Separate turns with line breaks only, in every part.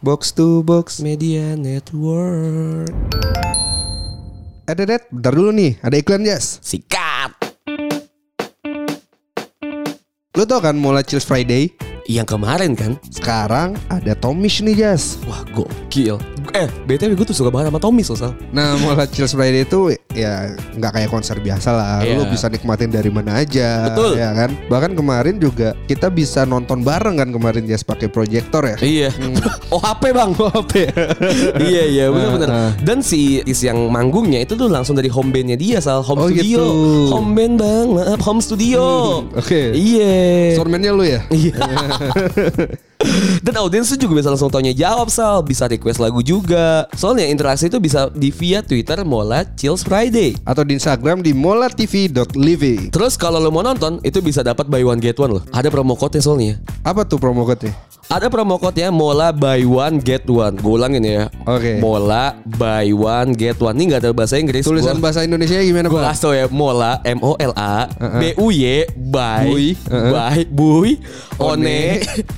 Box to Box Eh, Media Network. Eh, Dedet, bentar dulu nih. Ada iklan, Jas.
Sikat.
Lu tau kan Mola Chills Friday?
Yang kemarin kan?
Sekarang ada Tomish nih, Jas.
Wah gokil. Eh, BTW gue tuh suka banget sama Tommy so, Sal.
Nah, Mola Chills Friday itu ya nggak kayak konser biasa lah. Lu
Iya.
bisa nikmatin dari mana aja,
Betul.
ya kan? Bahkan kemarin juga kita bisa nonton bareng kan kemarin, Jas, pakai proyektor ya.
Iya. OHP bang, Oh, OHP. iya iya
Ah, ah.
benar-benar. Dan si is yang manggungnya itu tuh langsung dari home bandnya dia Sal, home
Oh,
studio.
gitu.
Home band bang, maaf home studio.
Hmm, oke.
Iya.
Sormennya lu ya?
Iya. Dan audiens tuh juga bisa langsung tanya jawab Sal, bisa request lagu juga. Soalnya interaksi itu bisa di via Twitter Mola Chills Friday.
Atau di Instagram di molatv.living.
Terus kalau lo mau nonton itu bisa dapat buy one get one loh. Ada promo code-nya soalnya.
Apa tuh promo code-nya?
Ada promo code-nya Mola buy one get one. Gue ulangin ya.
Oke.
Mola buy one get one. Ini nggak ada bahasa Inggris.
Tulisan
gua,
bahasa Indonesia gimana,
gua
Pak?
kasih tau ya Mola M O L A
Uh-uh.
B U Y buy
Buy, uh-uh.
buy buy
One,
one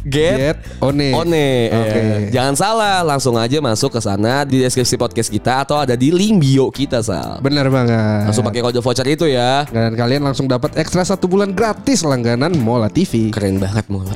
get,
get, one.
One,
Oke.
ya. Jangan salah, langsung aja masuk ke sana di deskripsi podcast kita atau ada di link bio kita sal.
Benar banget.
Langsung pakai kode voucher itu ya.
Dan kalian langsung dapat ekstra satu bulan gratis langganan Mola TV.
Keren banget Mola.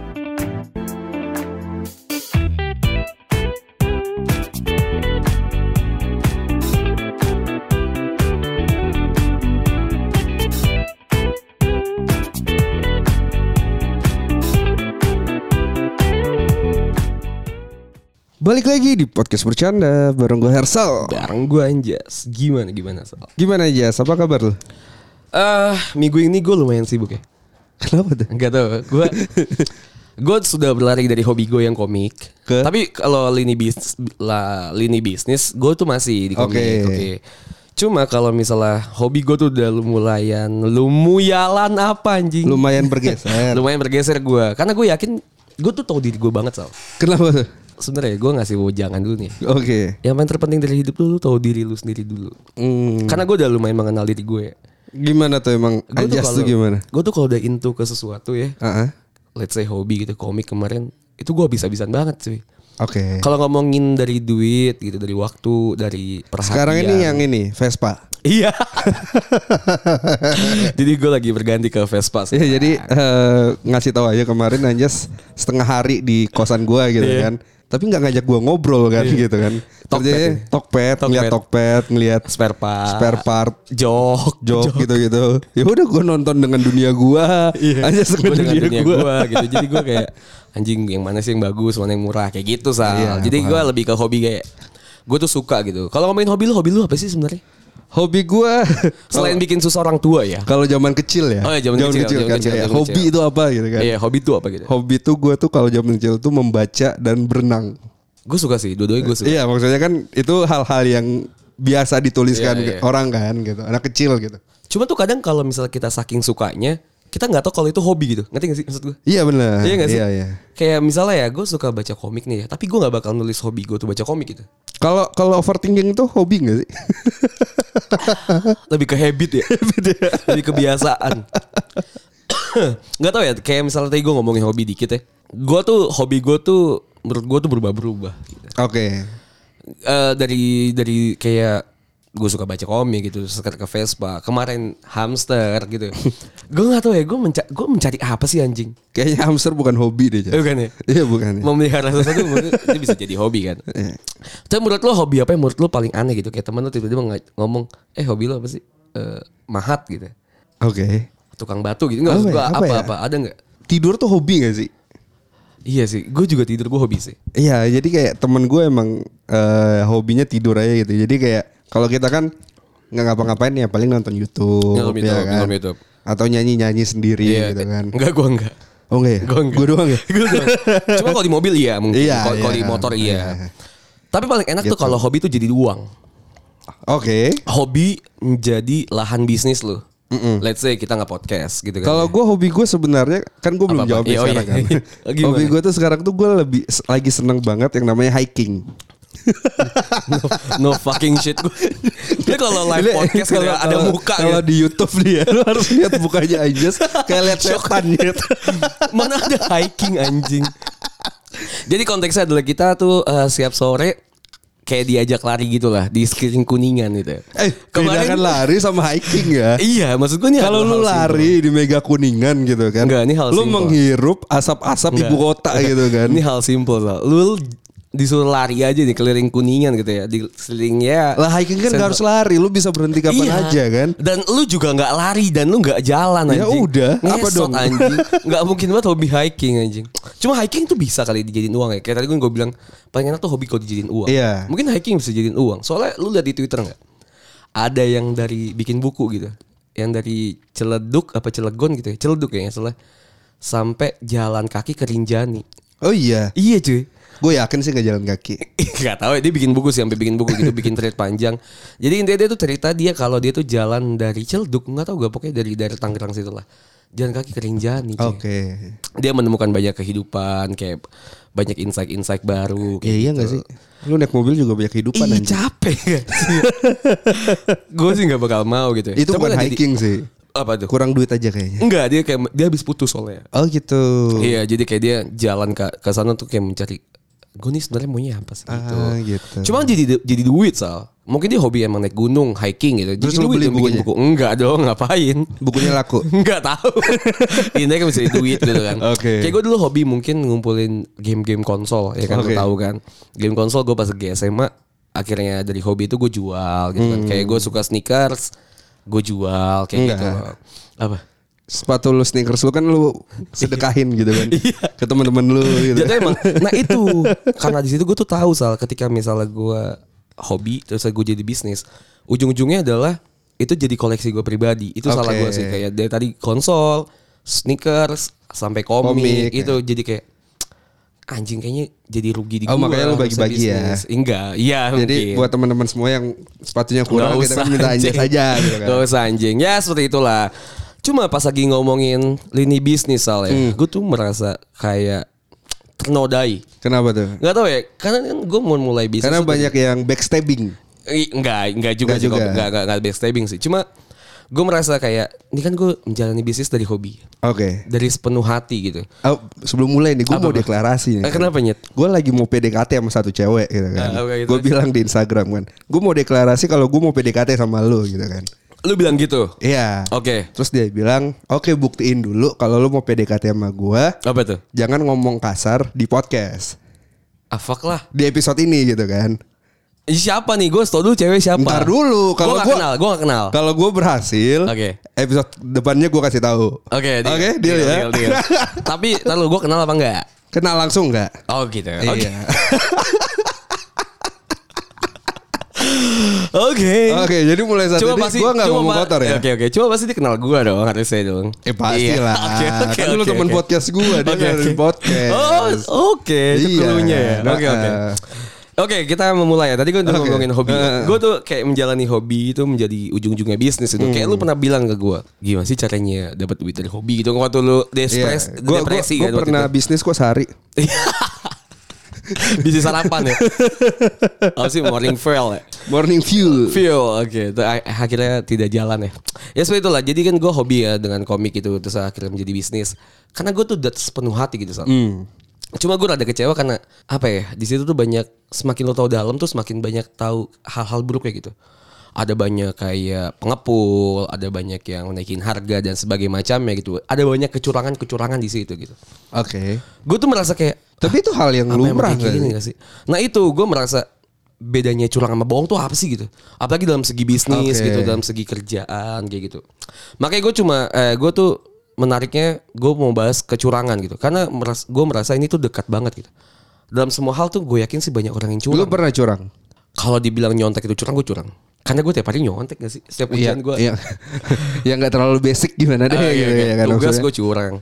Balik lagi di podcast bercanda bareng gue Hersal.
Bareng gue Anjas. Gimana gimana sal?
Gimana aja? Apa kabar lu?
Eh, minggu ini gue lumayan sibuk ya.
Kenapa tuh?
Enggak tahu, gue gue sudah berlari dari hobi gue yang komik.
Ke?
Tapi kalau lini bisnis, lah, lini bisnis, gue tuh masih di komik.
Oke.
Oke. Cuma kalau misalnya hobi gue tuh udah lumulayan, lumuyalan apa anjing?
Lumayan bergeser.
Lumayan bergeser gue, karena gue yakin gue tuh tahu diri gue banget sal.
Kenapa tuh?
Sebenarnya gue ngasih wejangan dulu nih.
Oke.
Yang paling terpenting dari hidup lu, lu tahu diri lu sendiri dulu.
Hmm,
Karena gue udah lumayan mengenal diri gue.
gimana tuh emang
Gue tuh
Anjas
kalau
tuh gimana?
Gue tuh kalau udah into ke sesuatu ya,
Ah, ah.
let's say hobi gitu komik kemarin itu gue habis-habisan banget
Iya.
sih
Oke.
kalau ngomongin dari duit gitu dari waktu dari perhatian
Sekarang ini yang ini Vespa.
iya jadi gue lagi berganti ke Vespa
Ya,
sekarang.
jadi eh, ngasih tahu aja kemarin Anjas setengah hari di kosan gua gitu kan. Tapi nggak ngajak gua ngobrol kan gitu kan.
Tokped
Kerjanya
ya?
tokpet, ngeliat tokpet, ngeliat
spare part
spare part
jok
joke gitu-gitu. Ya udah gue nonton dengan dunia gua, aja
gue
dengan
Iya. dengan
dunia,
dunia
gua.
gue gitu jadi gue kayak anjing yang mana sih yang bagus mana yang murah kayak gitu sal
Iya,
jadi gue lebih ke hobi kayak gue tuh suka gitu kalau ngomongin hobi lu hobi lu apa sih sebenarnya
Hobi gua Oh.
selain bikin susah orang tua ya
kalau zaman kecil ya.
Oh iya, zaman kecil, zaman
kan
kecil,
kayak
zaman
hobi
kecil.
itu apa gitu kan.
iya hobi tuh apa gitu
Hobi tuh gua tuh kalau zaman kecil tuh membaca dan berenang.
gue suka sih dua-duanya gue suka
Iya, maksudnya kan itu hal-hal yang biasa dituliskan
Iya,
ke orang kan gitu, anak kecil gitu.
Cuma tuh kadang kalau misalnya kita saking sukanya, kita nggak tahu kalau itu hobi gitu. Ngerti gak sih maksud gue?
Iya benar.
Iya nggak sih?
Iya, iya.
Kayak misalnya ya, gue suka baca komik nih ya, tapi gue nggak bakal nulis hobi gue tuh baca komik gitu.
Kalau kalau overthinking tuh hobi gak sih?
Lebih ke habit ya, lebih kebiasaan. nggak tahu ya, kayak misalnya tadi gue ngomongin hobi dikit ya. Gue tuh hobi gue tuh menurut gue tuh berubah-berubah.
Oke.
Eh dari dari kayak gue suka baca komik gitu, sekarang ke Vespa, kemarin hamster gitu. gue nggak tahu ya, gue menca- gue mencari apa sih anjing?
Kayaknya hamster bukan hobi deh, Jas.
Eh, Bukan ya?
Iya bukan.
memelihara sesuatu menurut- itu bisa jadi hobi kan.
Iya.
Tapi menurut lo hobi apa yang menurut lo paling aneh gitu? Kayak temen lo tiba-tiba nge- ngomong, eh hobi lo apa sih? Eh, mahat gitu.
Oke.
Tukang batu gitu. Nggak, maksud
Apa
gua
ya? Apa ya?
apa-apa. Ada nggak?
Tidur tuh hobi gak sih?
Iya sih. Gue juga tidur, gue hobi sih.
Iya, jadi kayak temen gue emang eh, hobinya tidur aja gitu. Jadi kayak kalau kita kan nggak ngapa-ngapain ya paling nonton YouTube,
Nonton
ya
YouTube,
kan?
nonton YouTube.
atau nyanyi-nyanyi sendiri
Iya,
gitu kan.
Enggak, gue enggak.
Oh enggak ya?
Gue enggak.
Gue doang ya.
Gua doang. Cuma kalau di mobil iya mungkin.
Iya,
kalau kalau
iya.
di motor iya.
Iya. Gitu.
Tapi paling enak tuh kalau hobi tuh jadi uang.
Oke.
Hobi menjadi lahan bisnis lo. Let's say kita nggak podcast gitu kan.
Kalau gue hobi gue sebenarnya kan gue belum jawab
Apa-apa? Iya,
ya
oh
sekarang
iya.
kan.
Gimana?
hobi gue tuh sekarang tuh gue lebih lagi seneng banget yang namanya hiking.
no, no fucking shit gue. Dia kalau live
Ini-
podcast gitu
kalau-
ya, ada
kalau-
muka
kalau
gitu.
di YouTube dia lu harus lihat mukanya aja kayak lihat setan gitu.
Mana ada hiking anjing. Jadi konteksnya adalah kita tuh eh, siap sore kayak diajak lari gitu lah di sekeliling kuningan gitu.
Eh, bedakan lari sama hiking ya.
Iya, maksud gue nih
Kalau
adalah
lu
hal simpel.
lari di Mega Kuningan gitu kan.
Enggak, ini hal
Lu
simple.
menghirup asap-asap ibu kota gitu kan.
Ini hal simpel lah. Lu disuruh lari aja di keliling kuningan gitu ya. Di keliling ya.
Lah hiking kan gak harus lari, lu bisa berhenti kapan
Iya.
aja kan.
Dan lu juga nggak lari dan lu nggak jalan
Ya
anjing.
udah, apa
Ngesot,
dong?
anjing. Nggak mungkin banget hobi hiking anjing. Cuma hiking tuh bisa kali dijadiin uang ya. Kayak tadi gue bilang paling enak tuh hobi kalau dijadiin uang.
Iya.
Mungkin hiking bisa jadiin uang. Soalnya lu lihat di Twitter nggak? Ada yang dari bikin buku gitu. Yang dari Celeduk apa Celegon gitu ya. Celeduk kayaknya soalnya sampai jalan kaki ke Rinjani.
Oh iya,
Iya cuy.
gue yakin sih gak jalan kaki.
Gak tahu ya, dia bikin buku sih, sampai bikin buku gitu, bikin thread panjang. Jadi intinya dia tuh cerita dia kalau dia tuh jalan dari Celduk, nggak tahu gak pokoknya dari dari Tangerang situ lah. Jalan kaki ke Rinjani. cuy.
Oke.
Dia menemukan banyak kehidupan, kayak banyak insight-insight baru.
Ya iya gak sih? Lu naik mobil juga banyak kehidupan
Ih
anjing.
Iya, capek Gue sih gak bakal mau gitu ya.
Itu bukan
Coba lah jadi-
hiking sih.
Apa tuh?
Kurang duit aja kayaknya.
Enggak dia kayak dia habis putus soalnya
Oh gitu.
Iya, jadi kayak dia jalan ke ke sana tuh kayak mencari gue nih sebenarnya maunya apa sih gitu.
Ah, gitu.
Cuma jadi jadi duit sal. Mungkin dia hobi emang naik gunung, hiking gitu. Jadi
Terus lu
duit
beli
yang bikin
bukunya?
buku. Enggak dong, ngapain?
Bukunya laku.
Enggak tahu. Intinya kan bisa jadi duit gitu kan.
Oke.
Kayak gue dulu hobi mungkin ngumpulin game-game konsol ya kan lu
Oke.
tahu kan. Game konsol gue pas lagi SMA akhirnya dari hobi itu gue jual gitu kan. Kayak
Hmm.
gue suka sneakers, gue jual kayak
Iya.
gitu. Apa?
Sepatu lu sneakers lu kan
Iya.
lu sedekahin gitu kan. Ke teman-teman lu gitu.
Jadi emang, nah itu karena di situ gue tuh tahu soal ketika misalnya gue hobi terus gue jadi bisnis, ujung-ujungnya adalah itu jadi koleksi gue pribadi. Itu salah
Oke.
gue sih kayak dari tadi konsol, sneakers sampai komik,
Komik, ya.
itu jadi kayak anjing kayaknya jadi rugi di
Oh,
gua,
makanya lu
harusnya
bagi-bagi ya.
bisnis. Enggak, iya
Jadi
mungkin.
buat teman-teman semua yang sepatunya
Nggak
kurang kita kan minta anjing saja gitu kan.
Nggak usah anjing. Ya seperti itulah. Cuma pas lagi ngomongin lini bisnis soalnya,
Hmm.
gue tuh merasa kayak ternodai.
Kenapa tuh?
Nggak tahu ya, karena kan gue mau mulai bisnis.
Karena
tuh-
banyak yang backstabbing.
Ih, nggak, nggak juga
Nggak
sih.
juga. ya?
Nggak, nggak, nggak, nggak backstabbing sih. Cuma gue merasa kayak, ini kan gue menjalani bisnis dari hobi.
Oke.
Dari sepenuh hati gitu.
Oh, sebelum mulai nih, gue mau deklarasi nih.
Eh, kenapa Nyet?
Gue lagi mau PDKT sama satu cewek gitu kan.
Ah, oke, gitu.
Gue bilang di Instagram kan, gue mau deklarasi kalau gue mau PDKT sama lu gitu kan.
Lu bilang gitu?
Iya.
Oke.
Terus dia bilang, oke buktiin dulu kalau lu mau PDKT sama gue,
Apa tuh?
jangan ngomong kasar di podcast
Ah fuck lah.
di episode ini gitu kan.
Ih, Siapa nih? Gue setau dulu cewek siapa.
Ntar dulu,
Gue
kalau
nggak
gua-
kenal, gue nggak kenal.
Kalau gue berhasil,
Oke.
episode depannya gue kasih tahu.
Oke,
oke, deal, ya.
deal, deal. Tapi lalu gue kenal apa enggak?
Kenal langsung nggak?
Oh gitu. Oke.
Iya.
Oke.
Oke, jadi mulai saat
Coba
ini
pasti
gue Nah, nggak
coba
ngomong
pa-
kotor ya.
Oke oke. Coba pasti dia kenal gue dong harusnya dong.
Eh pasti
Iya.
lah.
Oke oke.
kan lu
oke,
temen
oke.
podcast gue, dia
Oke,
dengerin
oke.
podcast.
Oh oke. Itu
Iya.
cluenya ya. Oke oke.
Nah,
Oke kita memulai ya Tadi gue udah
Oke.
ngomongin hobi
Eh.
Gue tuh kayak menjalani hobi itu menjadi ujung-ujungnya bisnis itu Kayak lu
Hmm.
pernah bilang ke gue Gimana sih caranya dapat duit dari hobi gitu Waktu lu depres,
Iya, gue
depresi
gue
kan waktu
pernah
itu.
bisnis kok sehari.
Bisnis sarapan ya Apa sih morning fail ya
Morning view.
Feel oke Itu a- akhirnya tidak jalan ya ya seperti itulah jadi kan gue hobi ya dengan komik itu terus akhirnya menjadi bisnis karena gue tuh udah sepenuh hati gitu Sal. cuma gue rada kecewa karena apa ya di situ tuh banyak semakin lo tahu dalam tuh semakin banyak tahu hal-hal buruk kayak gitu ada banyak kayak pengepul, ada banyak yang naikin harga dan sebagainya macamnya gitu. Ada banyak kecurangan-kecurangan di situ gitu.
Oke.
Gue tuh merasa kayak
Tapi itu hal yang
apa
lumrah
yang kayak gini
kan?
gak sih? Nah itu gue merasa bedanya curang sama bohong tuh apa sih gitu? Apalagi dalam segi bisnis
Oke.
gitu, dalam segi kerjaan kayak gitu. Makanya gue cuma, eh, gue tuh menariknya gue mau bahas kecurangan gitu, karena meras, gue merasa ini tuh dekat banget gitu. Dalam semua hal tuh gue yakin sih banyak orang yang
Lu
curang.
pernah curang?
Kalau dibilang nyontek itu curang, gue curang. Karena gue tiap hari nyontek gak sih? Setiap ujian gue.
Iya. yang nggak terlalu basic gimana deh
Ah, iya,
gitu
iya.
ya kan
Tugas
maksudnya.
gue curang.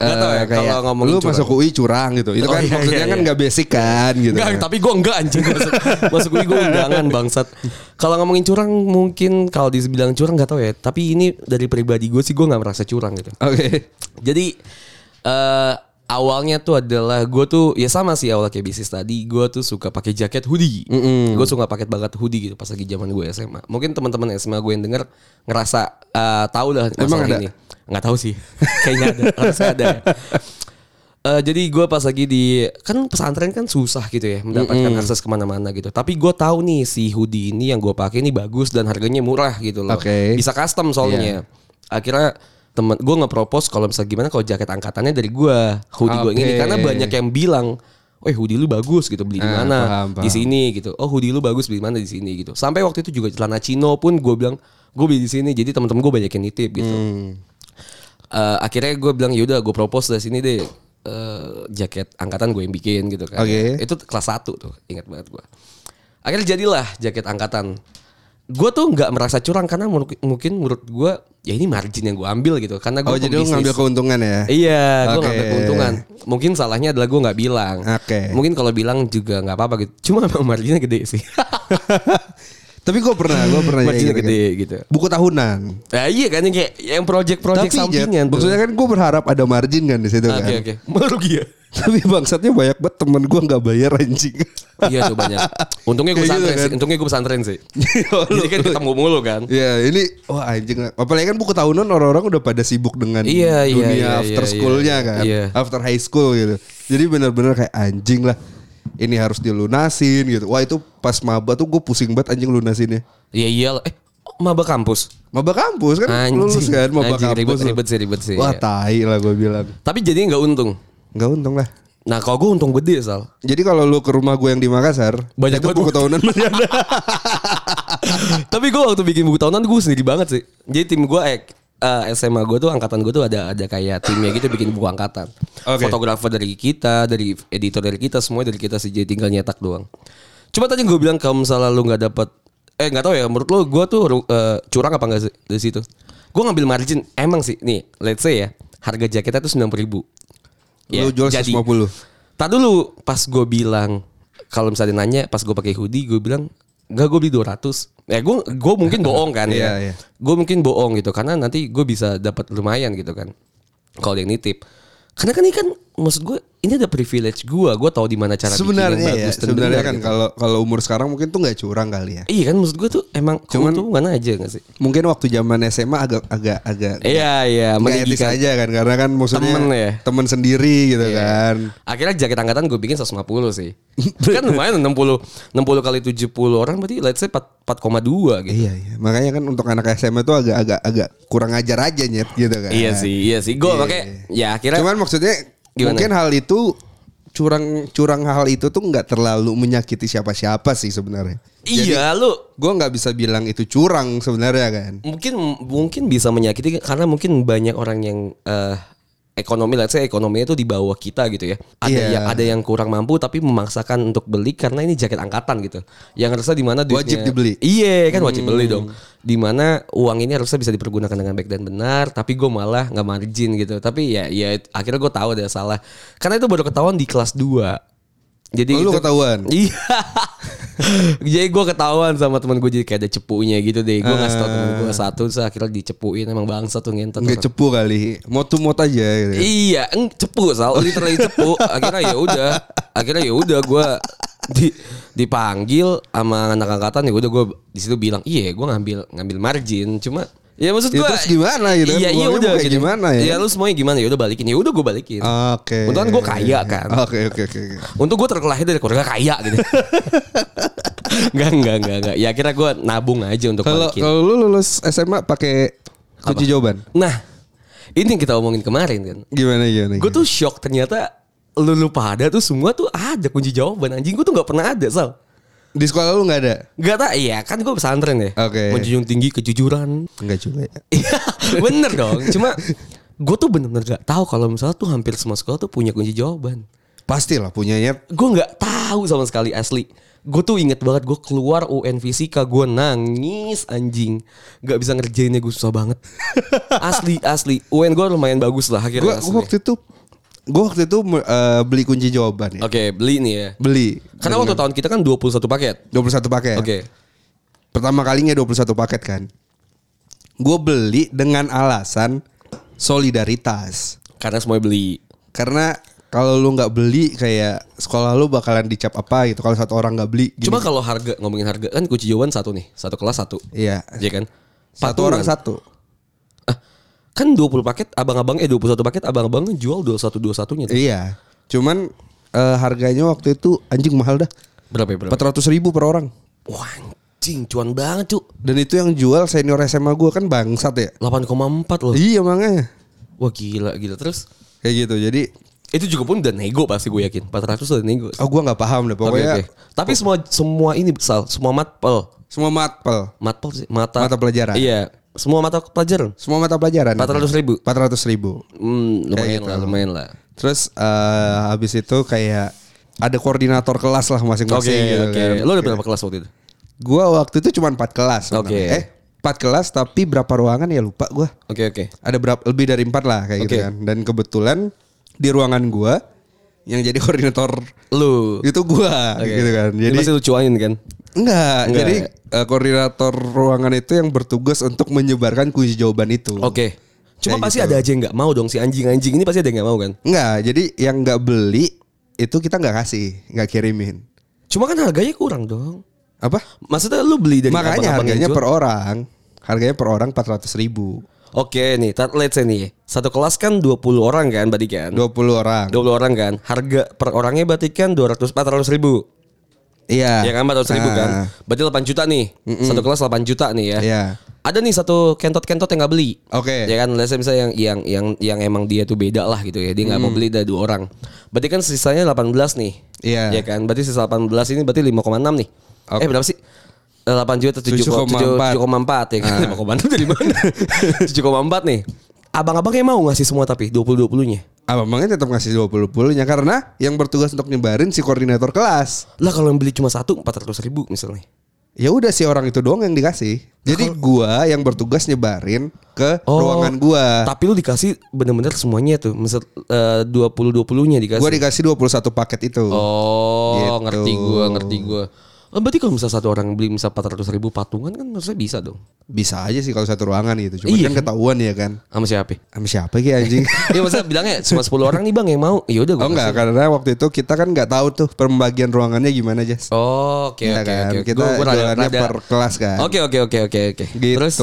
Gak tau ya
Eh, kayak
kalau ngomongin
lu
curang.
masuk UI curang gitu. Itu
Oh,
kan
iya,
maksudnya
iya,
kan
iya.
nggak basic kan gitu.
Enggak, tapi gue enggak anjing masuk, masuk gue undangan bangsat. Kalau ngomongin curang mungkin kalau dibilang curang nggak tahu ya. Tapi ini dari pribadi gue sih gue nggak merasa curang gitu.
Oke.
Jadi eh awalnya tuh adalah gue tuh ya sama sih awal kayak bisnis tadi. Gue tuh suka pakai jaket hoodie. Gue suka pakai banget hoodie gitu pas lagi zaman gue SMA. Mungkin teman-teman SMA gue yang denger ngerasa eh, tahu lah masalah
Emang ada?
ini. Nggak tahu sih. Kayaknya ada. Harusnya ada. ya. Eh, jadi gue pas lagi di kan pesantren kan susah gitu ya mendapatkan akses kemana-mana gitu. Tapi gue tahu nih si hoodie ini yang gue pakai ini bagus dan harganya murah gitu loh.
Oke. Iya.
Bisa custom soalnya. Akhirnya temen gue ngepropose kalau misalnya gimana kalau jaket angkatannya dari gue hoodie gue ini
Oke.
karena banyak yang bilang, eh hoodie lu bagus gitu beli di
Ah,
mana
paham, paham.
di sini gitu. Oh hoodie lu bagus beli di mana di sini gitu. Sampai waktu itu juga celana chino pun gue bilang gue beli di sini. Jadi teman-teman gue banyak yang nitip gitu.
Hmm.
Eh, akhirnya gue bilang yaudah gue propose dari sini deh eh, jaket angkatan gue yang bikin gitu kan.
Oke.
Itu kelas 1 tuh ingat banget gue. Akhirnya jadilah jaket angkatan. Gue tuh nggak merasa curang karena menurut- mungkin menurut gue ya ini margin yang gue ambil gitu karena
Oh
gue
jadi lu ngambil keuntungan ya?
Iya, gue
Oke.
ngambil keuntungan. Mungkin salahnya adalah gue nggak bilang.
Oke.
Mungkin kalau bilang juga nggak apa-apa gitu. Cuma emang marginnya gede sih.
Iya, Tapi gue pernah, gue pernah yang
marginnya
gitu.
gede gitu.
Buku tahunan.
Nah, iya kan yang kayak yang project-project
Jet,
sampingan tuh.
iya, ya, maksudnya kan gue berharap ada margin kan di situ
Oke
kan.
oke. Merugi ya.
Tapi bangsatnya banyak banget temen gue nggak bayar anjing.
iya tuh banyak. Untungnya gue
Kayak
pesantren
gitu
sih. Untungnya gue pesantren sih. Jadi kan ketemu mulu kan.
Ya ini wah anjing apalagi kan buku tahunan orang-orang udah pada sibuk dengan
Iya, iya,
dunia
iya,
after
iya,
schoolnya
iya.
kan,
Iya.
after high school gitu. Jadi benar-benar kayak anjing lah. Ini harus dilunasin gitu. Wah itu pas maba tuh gue pusing banget anjing lunasinnya.
Iya iyalah. Eh maba kampus.
Maba kampus kan
Anjing.
lulus kan maba
Anjing,
kampus.
ribet,
tuh.
ribet sih, ribet sih,
Wah
iya.
tai lah gue bilang.
Tapi jadi nggak untung.
Nggak untung lah.
Nah kalau gue untung gede sal.
Jadi kalau lu ke rumah gue yang di Makassar,
Banyak
itu
banget
buku
buku.
tahunan masih ada.
Tapi gue waktu bikin buku tahunan gue sendiri banget sih. Jadi tim gue eh, eh, SMA gue tuh angkatan gue tuh ada ada kayak timnya gitu bikin buku angkatan.
Oke.
Fotografer dari kita, dari editor dari kita, semua dari kita sih. Jadi tinggal nyetak doang. Cuma tadi gue bilang kalau misalnya lu nggak dapat eh nggak tahu ya menurut lu gue tuh ru- eh, curang apa enggak sih dari situ? Gue ngambil margin emang sih nih let's say ya harga jaketnya tuh 90.000 ribu. Ya,
Lu jual 150.
Tak dulu pas gue bilang kalau misalnya nanya pas gue pakai hoodie gue bilang enggak gue beli 200. Ya gue gue mungkin bohong kan ya.
Iya, iya.
Gue mungkin bohong gitu karena nanti gue bisa dapat lumayan gitu kan. Kalau dia nitip. Karena kan ini kan maksud gue ini ada privilege gue. Gue tahu di mana cara bikin yang
Sebenarnya ya,
bagus dan
sebenarnya
benar
kan
gitu.
kalau kalau umur sekarang mungkin tuh nggak curang kali ya.
Iya kan maksud gue tuh emang
Cuman-
keuntungan aja gak sih?
Mungkin waktu zaman SMA agak agak agak
Iya iya
nggak etis
merugikan.
aja kan karena kan maksudnya
Temen ya. Iya.
temen sendiri gitu kan.
Akhirnya jaket angkatan gue bikin 150 sih. kan lumayan 60 60 kali 70 orang berarti let's say 4 4,2 gitu.
Iya iya. Makanya kan untuk anak SMA tuh agak agak agak kurang ajar aja nyet gitu kan.
Iya sih, iya sih. Gue makanya ya akhirnya
Cuman maksudnya
Gimana?
mungkin hal itu curang curang hal itu tuh nggak terlalu menyakiti siapa-siapa sih sebenarnya.
iya lu
Gue nggak bisa bilang itu curang sebenarnya kan.
mungkin mungkin bisa menyakiti karena mungkin banyak orang yang eh, ekonomi let's say ekonominya itu di bawah kita gitu ya. Ada
Iya.
yang ada yang kurang mampu tapi memaksakan untuk beli karena ini jaket angkatan gitu. Yang harusnya di mana
Wajib
duitnya-
dibeli. Hmm.
Iya, kan wajib beli dong. Di mana uang ini harusnya bisa dipergunakan dengan baik dan benar, tapi gue malah nggak margin gitu. Tapi ya ya akhirnya gue tahu ada salah. Karena itu baru ketahuan di kelas 2. Jadi
Oh, lu
itu-
ketahuan?
Iya. Jadi gue ketahuan sama teman gue jadi kayak ada cepunya gitu deh. Gue ngasih tau temen gue satu, terus akhirnya dicepuin emang bangsa tuh ngentot.
Ah. Nggak
orang.
cepu kali. Mau to mot aja gitu.
Iya, eng, cepu sal, literally cepu. Akhirnya ya udah, akhirnya ya udah gue di dipanggil sama anak angkatan ya udah gue di situ bilang iya gue ngambil ngambil margin cuma ya maksud
Ya,
gue
terus gimana gitu kan?
iya iya
Uangnya
udah
mau kayak gimana ya?
ya lu semuanya gimana ya udah balikin ya udah gue balikin
Oke.
Kebetulan gua kaya kan.
Oke oke oke. oke.
Untung gue terlahir dari keluarga kaya gitu. Enggak, enggak, enggak, enggak. Ya akhirnya gue nabung aja untuk
Kalau
balikin.
kalau lu lulus SMA pakai kunci jawaban.
Nah, ini yang kita omongin kemarin kan.
Gimana gimana?
Gue tuh shock ternyata lu lu pada tuh semua tuh ada kunci jawaban anjing gue tuh nggak pernah ada sal
di sekolah lu nggak ada?
nggak tak iya kan gue pesantren ya
Oke.
menjunjung tinggi kejujuran
Enggak juga ya.
Iya, bener dong cuma gue tuh bener-bener gak tahu kalau misalnya tuh hampir semua sekolah tuh punya kunci jawaban
Pasti lah punyanya.
gue nggak tahu sama sekali asli gue tuh inget banget gue keluar UN fisika gue nangis anjing nggak bisa ngerjainnya gue susah banget asli asli UN gue lumayan bagus lah
Gue
akhirnya asli. oke
waktu itu gue waktu itu eh, beli kunci jawaban ya.
beli nih ya
Beli. Iya.
karena waktu tahun kita kan 21 paket
21 paket.
oke
Pertama kalinya 21 paket kan. Gue beli dengan alasan solidaritas.
karena semuanya beli
Karena kalau lu nggak beli kayak sekolah lu bakalan dicap apa gitu kalau satu orang nggak beli. gini.
cuma kalau harga ngomongin harga kan kunci jawaban satu nih satu kelas satu
iya.
Iya kan
Satu orang
Patungan.
satu.
Kan 20 paket abang-abang eh 21 paket abang-abang jual 21-21-nya. tuh.
Iya. Cuman eh, harganya waktu itu anjing mahal dah.
Berapa ya berapa?
400 ribu per orang.
Wah, anjing cuan banget, Cuk.
Dan itu yang jual senior SMA gue kan bangsat ya.
8,4 loh.
Iya makanya.
Wah, gila gila. Terus
Kayak gitu. Jadi
itu juga pun udah nego pasti gue yakin. 400 udah nego.
oh gue nggak paham deh pokoknya.
Oke, oke. Tapi semua semua ini sal, semua matpel,
Semua matpel.
matpel sih, mata
Mata pelajaran.
Iya, semua mata pelajaran.
Semua mata pelajaran.
400 ribu.
400 ribu.
Hmm, lumayan
Kayak gitu.
lah, lumayan lah.
Terus eh, habis itu kayak ada koordinator kelas lah
Oke,
masing-masing. gitu
oke.
kan.
Lo udah berapa kelas waktu itu?
Gua waktu itu cuma 4 kelas.
Oke.
namanya. Eh, 4 kelas tapi berapa ruangan ya lupa gua.
Oke, oke.
Ada berapa lebih dari 4 lah kayak gitu
Oke.
kan. Dan kebetulan di ruangan gua yang jadi koordinator
Lu
itu gua
oke.
gitu kan.
Ini
Jadi
pasti lucuanin kan?
enggak,
Enggak, ya?
jadi eh, koordinator ruangan itu yang bertugas untuk menyebarkan kuis jawaban itu.
Oke. Cuma
Kayak
pasti
gitu.
ada aja yang nggak mau dong si anjing-anjing ini pasti ada yang nggak mau kan?
Enggak, jadi yang enggak beli itu kita nggak kasih, nggak kirimin.
Cuma kan harganya kurang dong.
Apa?
Maksudnya lu beli dari
Makanya
abang-abang yang
harganya
jual?
per orang, harganya per orang 400 ribu.
Oke nih, tar- let's say nih. Satu kelas kan 20 orang kan berarti kan?
20 orang.
20 orang kan. Harga per orangnya berarti kan 200 400 ribu.
Iya.
Ya kan 400 ribu kan.
Ah,
Berarti 8 juta nih. Satu kelas 8 juta nih ya.
Iya.
Ada nih satu kentot-kentot yang nggak beli.
Oke.
Ya kan, let's say misalnya yang yang yang yang emang dia tuh beda lah gitu ya. Dia nggak mau beli dari dua orang. Berarti kan sisanya 18 nih.
Iya.
Ya kan? Berarti sisa 18 ini berarti 5,6 nih.
Oke.
Eh berapa sih? Eh, 8 juta
7,4.
7,4 7,4 ya kan.
Ah.
5,6 dari mana? 7,4 nih. Abang-abangnya mau ngasih semua tapi 20-20-nya.
Abang-abangnya tetap ngasih 20 puluhnya karena yang bertugas untuk nyebarin si koordinator kelas.
Lah kalau yang beli cuma satu 400 ribu misalnya.
Ya udah si orang itu doang yang dikasih. Jadi gua yang bertugas nyebarin ke
Nah, Oh,
ruangan gua.
Tapi lu dikasih bener-bener semuanya tuh. Misal eh, dua puluh dua puluhnya dikasih.
Gua dikasih 21 paket itu.
oh,
Gitu.
ngerti gua, ngerti gua. Eh, berarti kalau misal satu orang beli misal 400 ribu patungan kan maksudnya bisa dong.
Bisa aja sih kalau satu ruangan gitu. Cuma
Iya.
kan ketahuan ya kan.
Sama siapa?
Sama siapa ki anjing?
Iya maksudnya bilangnya cuma 10 orang nih bang yang mau. Ya udah gua.
oh enggak,
kasih.
karena waktu itu kita kan nggak tahu tuh pembagian ruangannya gimana, Jas.
Oh, oke
Iya
oke
kan?
oke.
Kita jualannya per kelas kan.
Oke oke oke oke oke.
Gitu.
Terus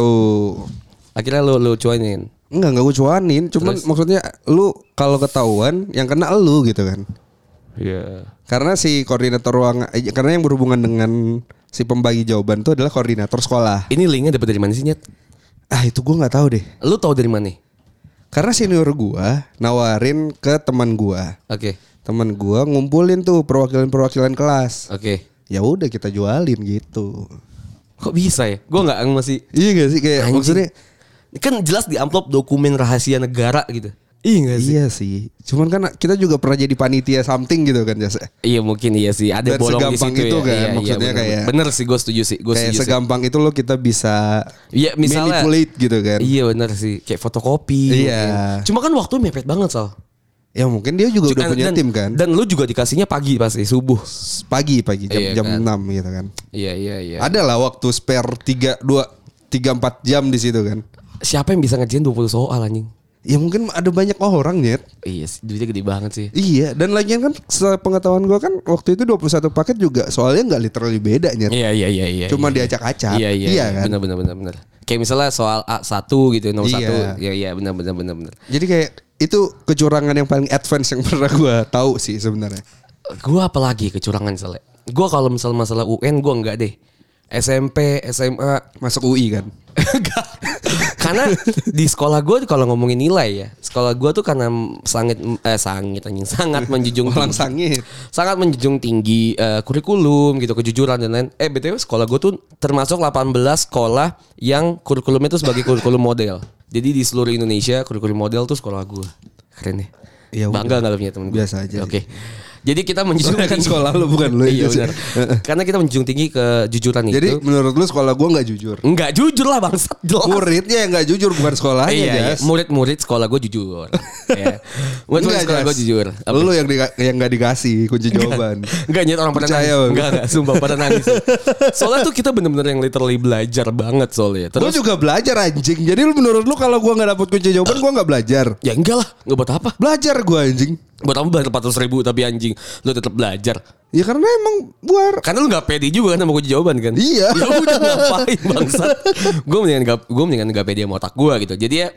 akhirnya lu lu cuanin.
Enggak, enggak gue cuanin. Cuman maksudnya lu kalau ketahuan yang kena lu gitu kan.
Iya.
Karena si koordinator ruangan eh, karena yang berhubungan dengan si pembagi jawaban itu adalah koordinator sekolah.
Ini linknya dapat dari mana sih Nyet?
Ah, itu gua nggak tahu deh.
Lu tahu dari mana?
Karena senior gua nawarin ke teman gua.
Oke.
Teman gua ngumpulin tuh perwakilan-perwakilan kelas.
Oke.
Ya udah kita jualin gitu.
Kok bisa ya? Gua nggak masih
Iya gak sih kayak
Anjing.
maksudnya
kan jelas di amplop dokumen rahasia negara gitu. Iya gak sih?
iya sih. Cuman kan kita juga pernah jadi panitia something gitu kan jasa.
Iya mungkin iya sih ada
Dan
bolong di
segampang
situ
itu
ya.
kan,
Iya, iya,
maksudnya
bener,
kayak-
bener sih gue setuju Iya sih, gue
Kayak
setuju sih.
segampang itu lo kita bisa
Iya misalnya
manipulate gitu kan.
Iya bener sih, kayak fotokopi.
Iya.
mungkin. Cuma kan waktu mepet banget Sal.
Ya mungkin dia juga udah
Dan-
punya
dan,
tim kan.
Dan lu juga dikasihnya pagi pasti subuh.
pagi pagi jam
Iya
jam
kan.
6 gitu kan.
Iya iya iya.
Ada lah waktu spare 3 2 3 4 jam di situ kan.
Siapa yang bisa ngerjain 20 soal anjing?
Ya mungkin ada banyak orang nyet.
Iya, sih, duitnya gede banget sih.
Iya, dan lagian kan sepengetahuan gua kan waktu itu 21 paket juga soalnya nggak literally beda nyet.
Iya iya iya iya.
Cuma
iya.
diacak-acak.
Iya iya.
Iya
iya
kan?
Bener bener bener bener. Kayak misalnya soal A1 gitu, nomor
Iya.
satu. Iya iya bener bener bener bener.
Jadi kayak itu kecurangan yang paling advance yang pernah gua tahu sih sebenarnya.
Gua apalagi kecurangan soalnya. Gua kalau misal masalah UN gua enggak deh. SMP, SMA
Masuk UI kan.
Enggak. karena di sekolah gua kalau ngomongin nilai ya, sekolah gua tuh karena sangat eh sangat anjing sangat menjunjung
Orang
tinggi-
sangit.
sangat menjunjung tinggi eh, kurikulum gitu, kejujuran dan lain. Eh BTW sekolah gua tuh termasuk 18 sekolah yang kurikulumnya tuh sebagai kurikulum model. Jadi di seluruh Indonesia kurikulum model tuh sekolah gua. Keren ya.
Ya
Bangga nggak lu punya temen gua?
Biasa aja sih.
Oke. Jadi kita menjunjung
Kan
tinggi-
sekolah lu, bukan lu.
iya benar. Karena kita menjunjung tinggi kejujuran
Jadi
itu.
menurut lu sekolah gua nggak jujur?
Enggak jujur lah bangsat jelas.
Muridnya yang nggak jujur bukan sekolahnya
iya, iya.
Jas.
murid-murid sekolah gue jujur. Iya. Murid-murid
Enggak,
sekolah
Jas.
gue jujur. Apa?
Lu yang diga- yang nggak dikasih kunci jawaban.
Enggak nyet orang pada
Percaya,
nangis.
Bang.
Enggak, enggak, sumpah pada nangis. Soalnya tuh kita bener-bener yang literally belajar banget soalnya. ya.
Gue
Terus
juga belajar anjing. Jadi lu menurut lu kalau gua nggak dapet kunci jawaban gua nggak belajar.
ya enggak lah, enggak buat apa.
Belajar gua anjing.
Buat apa bayar 400 ribu tapi anjing lu tetap belajar.
Ya karena emang gua
Karena lu gak pede juga kan sama kunci jawaban kan?
Iya.
Ya udah ngapain bangsat. gue mendingan gak, gue mendingan gak pede sama otak gue gitu. Jadi ya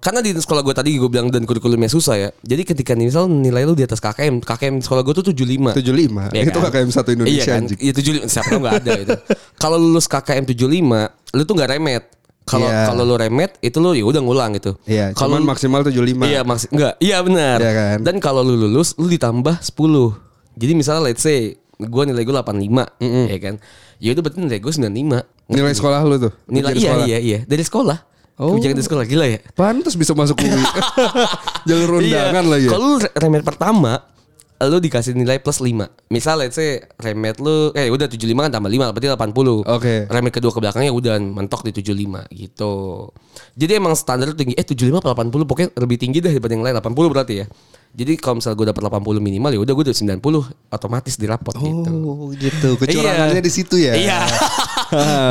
karena di sekolah gue tadi gue bilang dan kurikulumnya susah ya. Jadi ketika nih, misal nilai lu di atas KKM, KKM sekolah gue tuh 75.
75.
Iya
Itu KKM satu Indonesia,
Iya kan?
anjing.
Iya 75 siapa tahu nggak ada itu. Kalau lu lulus KKM 75, lu tuh nggak remet. Kalau
Iya.
kalau lu remet itu lu ya udah ngulang gitu.
Iya,
Kalau
cuman
lu-
maksimal 75.
Iya maks enggak. Iya benar.
Iya kan?
Dan kalau lu lulus lu ditambah 10. Jadi misalnya let's say gua nilai gua 85, ya kan. Ya itu berarti nilai gua 95.
Nilai sekolah lu tuh.
Nilai
Ujian
iya
sekolah.
iya iya dari sekolah.
Oh.
Kebijakan dari sekolah gila ya.
Pantes bisa masuk UI. Jalur undangan
Iya.
lagi. ya.
Kalau lu re- remet pertama lu dikasih nilai plus 5 Misal let's say remet lu Eh udah 75 kan tambah 5 Berarti 80
Oke.
Remet kedua ke belakangnya udah mentok di 75 gitu Jadi emang standar lu tinggi Eh 75 apa 80 Pokoknya lebih tinggi deh daripada yang lain 80 berarti ya Jadi kalau misal gue dapat 80 minimal ya udah gue udah 90 Otomatis dirapot gitu
Oh gitu. Kecurangannya
Iya.
di situ ya.
Iya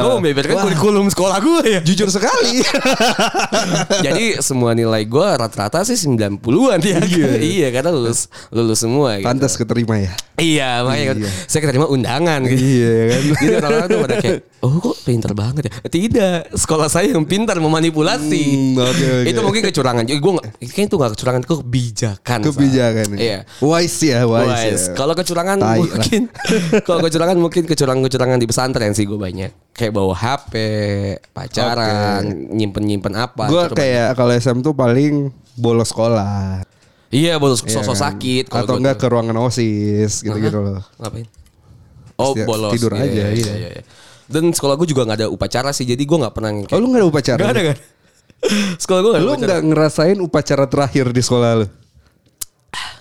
Gue membeberkan kurikulum sekolah gue ya
Jujur sekali.
Gitu. Jadi semua nilai gue rata-rata sih 90-an ya. Iya, karena lulus lulus semua gitu.
Pantas keterima ya.
Iya makanya kan saya keterima undangan gitu.
Iya kan.
Jadi orang-orang tuh pada kayak Oh kok pinter banget ya Tidak Sekolah saya yang pintar
Hmm,
memanipulasi
oke, oke.
Itu mungkin kecurangan Jadi gue nggak- Kayaknya itu gak kecurangan Itu kebijakan Fah.
Kebijakan. ya.
Iya
Wise ya, wise.
Wise.
ya.
Kalau
Tai
kecurangan
lah.
mungkin kalau kecurangan mungkin kecurangan-kecurangan di pesantren sih gue banyak. Kayak bawa HP, pacaran, nyimpen-nyimpen apa.
Gue
gitu.
kayak kalau SM tuh paling bolos sekolah.
Iya, bolos
Iya
sosok
kan?
sakit kalau
Atau
gua
enggak
tuh.
ke ruangan OSIS gitu-gitu loh.
Ngapain? Oh,
Setiap-
bolos.
tidur
Iya,
aja,
Iya,
iya.
iya, iya. Dan sekolah gue juga nggak ada upacara sih, jadi gue nggak pernah
Oh
yang kayak-
lu gak ada upacara?
Nggak ada kan? sekolah gue nggak ada
Lu
upacara.
gak ngerasain upacara terakhir di sekolah lu?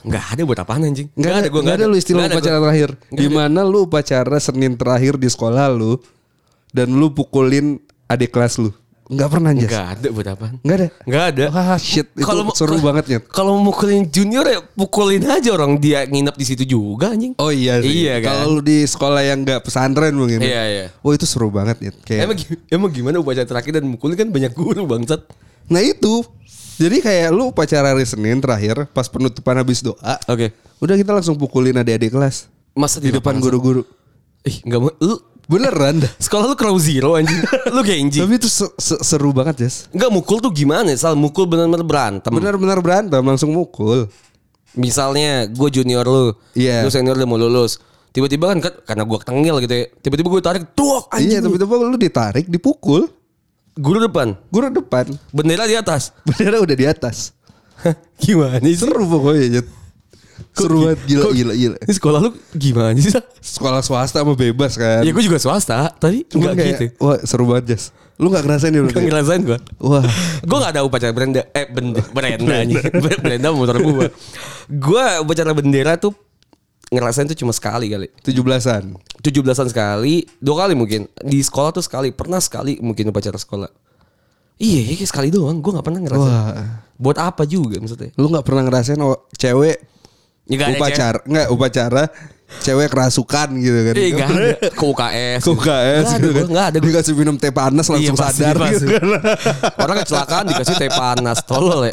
Nggak ada buat apaan anjing? Nggak ada, gue
nggak ada lu istilah
Nggak ada
upacara
gua.
terakhir.
Nggak
Di mana lu upacara Senin terakhir di sekolah lu dan lu pukulin adik kelas lu? Nggak pernah Jas.
Nggak ada buat apaan?
Nggak ada.
Nggak ada.
Wah, Ah, shit, itu
mau-
seru
kalau-
banget, Nyet.
Kalau mau mukulin junior ya pukulin aja orang dia nginep di situ juga anjing.
Oh iya sih.
Iya kan.
Kalau lu di sekolah yang nggak pesantren mungkin.
Iya, iya.
Oh itu seru banget nih. Kayak
Emang, gi- emang gimana upacara terakhir dan mukulin kan banyak guru bangsat.
Nah itu Jadi kayak lu upacara hari Senin terakhir Pas penutupan habis doa
Oke.
Udah kita langsung pukulin adik-adik kelas
Masa
Di depan guru-guru
Ih, enggak mau lu
Beneran dah
sekolah lu crow zero anjing. lu genji.
Tapi itu se- se- seru banget Jas
Enggak mukul tuh gimana? ya, Sal mukul benar-benar berantem.
Bener-bener berantem langsung mukul
Misalnya gue junior lu,
Iya.
lu senior udah mau lulus. Tiba-tiba kan kan- karena gue tengil gitu ya. Tiba-tiba gue tarik tuak
Iya
anjing.
tiba-tiba lu ditarik dipukul
Guru depan,
Guru depan
bendera di atas.
Bendera udah di atas
Hah, gimana sih?
Seru pokoknya Jet Seru banget gila
Kok-
gila gila
Ini sekolah lu gimana sih? Sa?
Sekolah swasta mah bebas kan
Ya gue juga swasta, tapi
Cuman
enggak
kayak,
gitu.
Wah seru banget Jas Lu gak ngerasain ya
Gak
berarti?
ngerasain gue.
Wah
Gue gak ada upacara berenda Eh benda Berenda anjing. Ber- Berenda motor gue Gue upacara bendera tuh Ngerasain tuh cuma sekali kali
17an
17-an sekali Dua kali mungkin Di sekolah tuh sekali Pernah sekali mungkin upacara sekolah Iya, iya sekali doang Gue gak pernah ngerasain
Wah.
Buat apa juga maksudnya
Lu gak pernah ngerasain oh, cewek
Ya, nggak ada,
upacara nggak upacara cewek kerasukan gitu kan
Cek. Eh, nggak ada. Ke UKS
ke UKS
Nggak ada,
gitu
gua,
kan
nggak ada gua.
dikasih minum teh panas langsung
Iya, pasti,
sadar
pasti.
gitu kan
Orang kecelakaan dikasih teh panas Tolol ya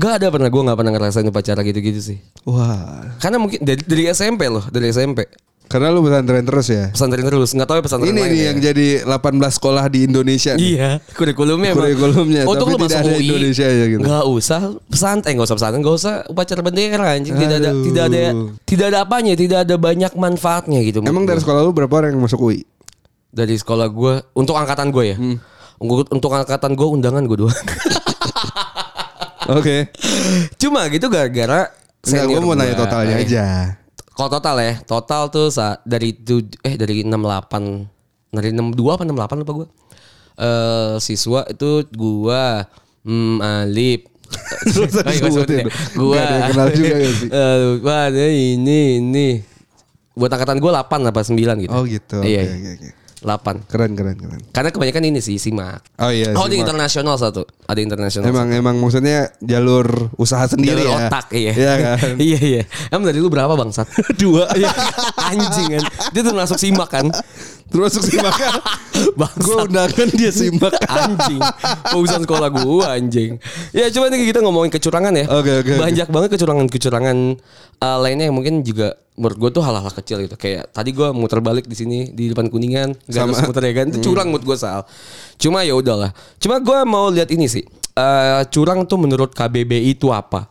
Gak ada pernah Gue gak pernah ngerasain upacara gitu-gitu sih
wah
Karena mungkin dari, dari SMP loh Dari SMP
karena lu pesantren terus ya
Pesantren terus Gak tau ya pesantren
ini
lain
nih
ya.
yang jadi 18 sekolah di Indonesia nih.
Iya Kurikulumnya emang Oh,
Kurikulumnya,
Untuk
tapi
lu masuk
tidak ada
UI,
Indonesia aja gitu.
Gak usah pesantren Gak usah pesantren Gak usah upacara bendera anjing Tidak ada
Aduh.
Tidak ada Tidak ada apanya Tidak ada banyak manfaatnya gitu
emang dari sekolah lu berapa orang yang masuk UI
Dari sekolah gue Untuk angkatan gue ya
Hmm.
Untuk- Untuk angkatan gue Undangan gue doang
oke
Cuma gitu gara-gara
Nggak, gue
senior
mau nanya
gua.
totalnya
Iya.
aja
Kalau total ya, total tuh sa- dari tu- eh dari 68 dari 62 apa 68 lupa gua. Eh siswa itu gua hmm, Alip
Terus tadi
Oh, iya, gua
sebutin.
sebutin ya. Gua
Nggak ada yang kenal juga nggak sih?
Eh, gua ada ini ini. Buat angkatan gua 8 apa 9 gitu.
oh gitu
Iya.
Oke,
iya.
oke, oke.
8.
keren keren keren
Karena kebanyakan ini sih simak.
oh iya
Oh, ada
simak.
internasional satu. Ada internasional.
emang emang maksudnya jalur usaha sendiri
Jalur
ya
otak iya.
iya kan
iya iya. Emang dari lu berapa bangsat?
dua
Iya. Anjing kan. Dia tuh masuk simak kan.
terus simak gue
Bangsat.
undangan dia simak
anjing. Urusan sekolah gua anjing. Ya cuman ini kita ngomongin kecurangan ya.
Oke, oke, oke.
Banyak banget kecurangan-kecurangan eh, lainnya yang mungkin juga menurut gua tuh hal-hal kecil gitu. Kayak tadi gua muter balik di sini di depan Kuningan, gak
Sama.
harus muter ya kan. Itu curang menurut gua soal. Cuma ya udahlah. Cuma gua mau lihat ini sih. eh, curang tuh menurut KBBI itu apa?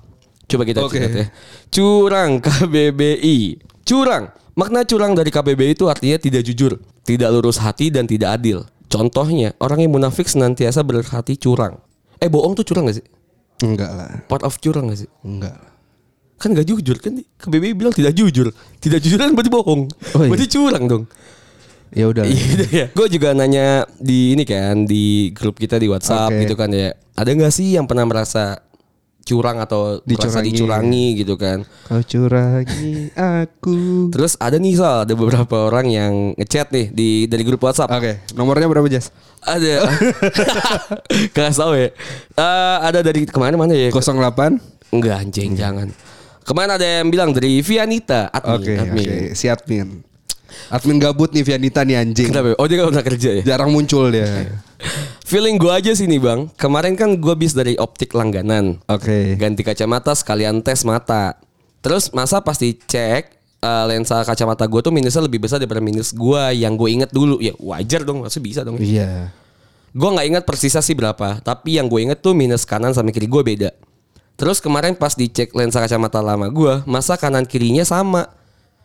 Coba kita
Oke.
cek ya. Curang KBBI. Curang. Makna curang dari KBBI itu artinya tidak jujur, tidak lurus hati dan tidak adil. Contohnya, orang yang munafik senantiasa berhati curang. Eh, bohong tuh curang gak sih?
Enggak lah.
Part of curang gak sih?
Enggak.
Kan gak jujur kan KBBI bilang tidak jujur. Tidak jujur kan berarti bohong.
Oh iya.
Berarti curang dong.
Ya udah. lah.
Iya. Gue juga nanya di ini kan di grup kita di WhatsApp
Oke.
gitu kan ya. Ada nggak sih yang pernah merasa curang atau merasa
Dicurangi.
dicurangi gitu kan?
Kau curangi aku.
Terus ada nih Sal, ada beberapa orang yang ngechat nih di dari grup WhatsApp.
Oke, nomornya berapa Jas?
Ada. Kasih tau ya. Eh, ada dari kemana mana ya?
08.
Enggak anjing jangan. Kemana ada yang bilang dari Vianita admin.
Oke, oke.
admin.
Si Iya, admin. Admin gabut nih Vianita nih anjing.
Kenapa? Oh dia gak pernah kerja ya?
Jarang muncul dia.
Feeling gue aja sih nih bang. Kemarin kan gue bis dari optik langganan.
Oke.
Ganti kacamata sekalian tes mata. Terus masa pasti cek eh, lensa kacamata gue tuh minusnya lebih besar daripada minus gue yang gue inget dulu. Ya wajar dong, maksudnya bisa dong.
Iya.
Gue nggak ingat persisnya sih berapa, tapi yang gue inget tuh minus kanan sama kiri gue beda. Terus kemarin pas dicek lensa kacamata lama gue, masa kanan kirinya sama.